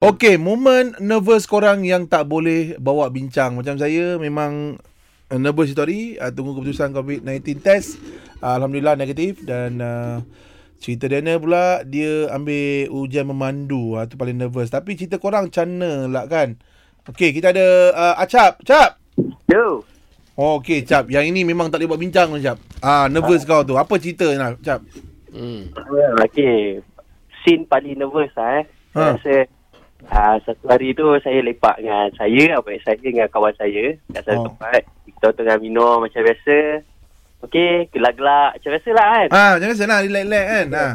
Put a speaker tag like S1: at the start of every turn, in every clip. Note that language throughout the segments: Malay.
S1: Okay, moment nervous korang yang tak boleh bawa bincang. Macam saya memang uh, nervous itu hari. Uh, tunggu keputusan COVID-19 test. Uh, Alhamdulillah negatif. Dan uh, cerita Daniel pula, dia ambil ujian memandu. Uh, tu paling nervous. Tapi cerita korang macam mana lah kan? Okay, kita ada uh, Acap. Cap!
S2: Yo,
S1: Oh, okay, Cap. Yang ini memang tak boleh buat bincang, Cap. Ah, nervous kau tu. Apa cerita, nak, Cap?
S3: Hmm.
S2: okay. Scene paling nervous lah eh.
S1: Ha.
S2: Ha. Saya rasa uh, satu hari tu saya lepak dengan saya, abang saya dengan kawan saya kat satu
S1: Oh.
S2: oh. tempat. Kita tengah minum macam biasa. Okey, gelak-gelak macam biasa lah kan.
S1: Ah, jangan senang, relax-relax kan? Ah.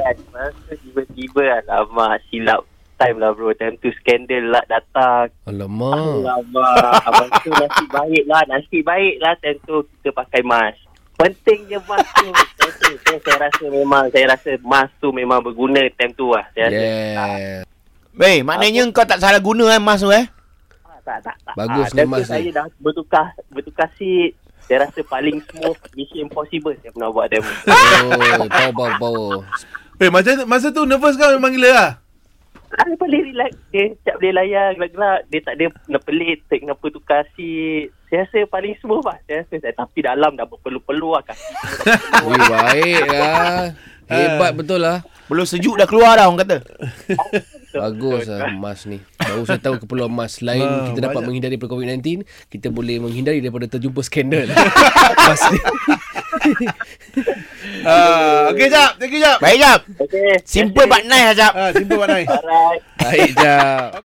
S2: Dan masa tiba-tiba alamak silap time lah bro. Time tu skandal lah datang.
S3: Alamak.
S2: Alamak, abang tu nasib baik lah. Nasib baik lah time tu kita pakai mask. Penting je mask tu. Time tu, saya, saya rasa memang, saya rasa mask tu memang berguna time tu lah. Saya rasa.
S3: Yeah.
S4: Weh, maknanya kau tak salah guna eh mas tu eh?
S2: Tak, tak, tak. tak.
S3: Bagus
S2: Ah, time
S3: ni mask
S2: tu
S3: ni.
S2: saya dah bertukar, bertukar seat. Saya rasa paling smooth Mission Impossible saya pernah buat time tu.
S3: Oh, power, power, power.
S1: Eh, masa, masa tu nervous kau memang gila lah?
S2: Ah, dia paling relax. Dia tak boleh layar gelak-gelak. Dia tak ada nak pelik. Tak kenapa tukar seat. Saya rasa paling smooth lah. Saya rasa. Saya, tapi dalam dah berpeluh-peluh lah. Kaki semua dah berpeluh.
S3: Ui, baik lah. Hebat betul lah.
S4: Belum sejuk dah keluar dah orang kata.
S3: Bagus lah emas ni. Baru saya tahu keperluan emas. Lain
S1: Ah,
S3: kita dapat
S1: banyak.
S3: menghindari daripada COVID-19, kita boleh menghindari daripada terjumpa skandal. Pasti.
S1: Ah, okay, Cap. Thank you, Cap.
S4: Baik jap.
S2: Okay.
S4: Simple but nice lah jap.
S1: Ah, simple but nice.
S2: Alright.
S3: Baik, Jap.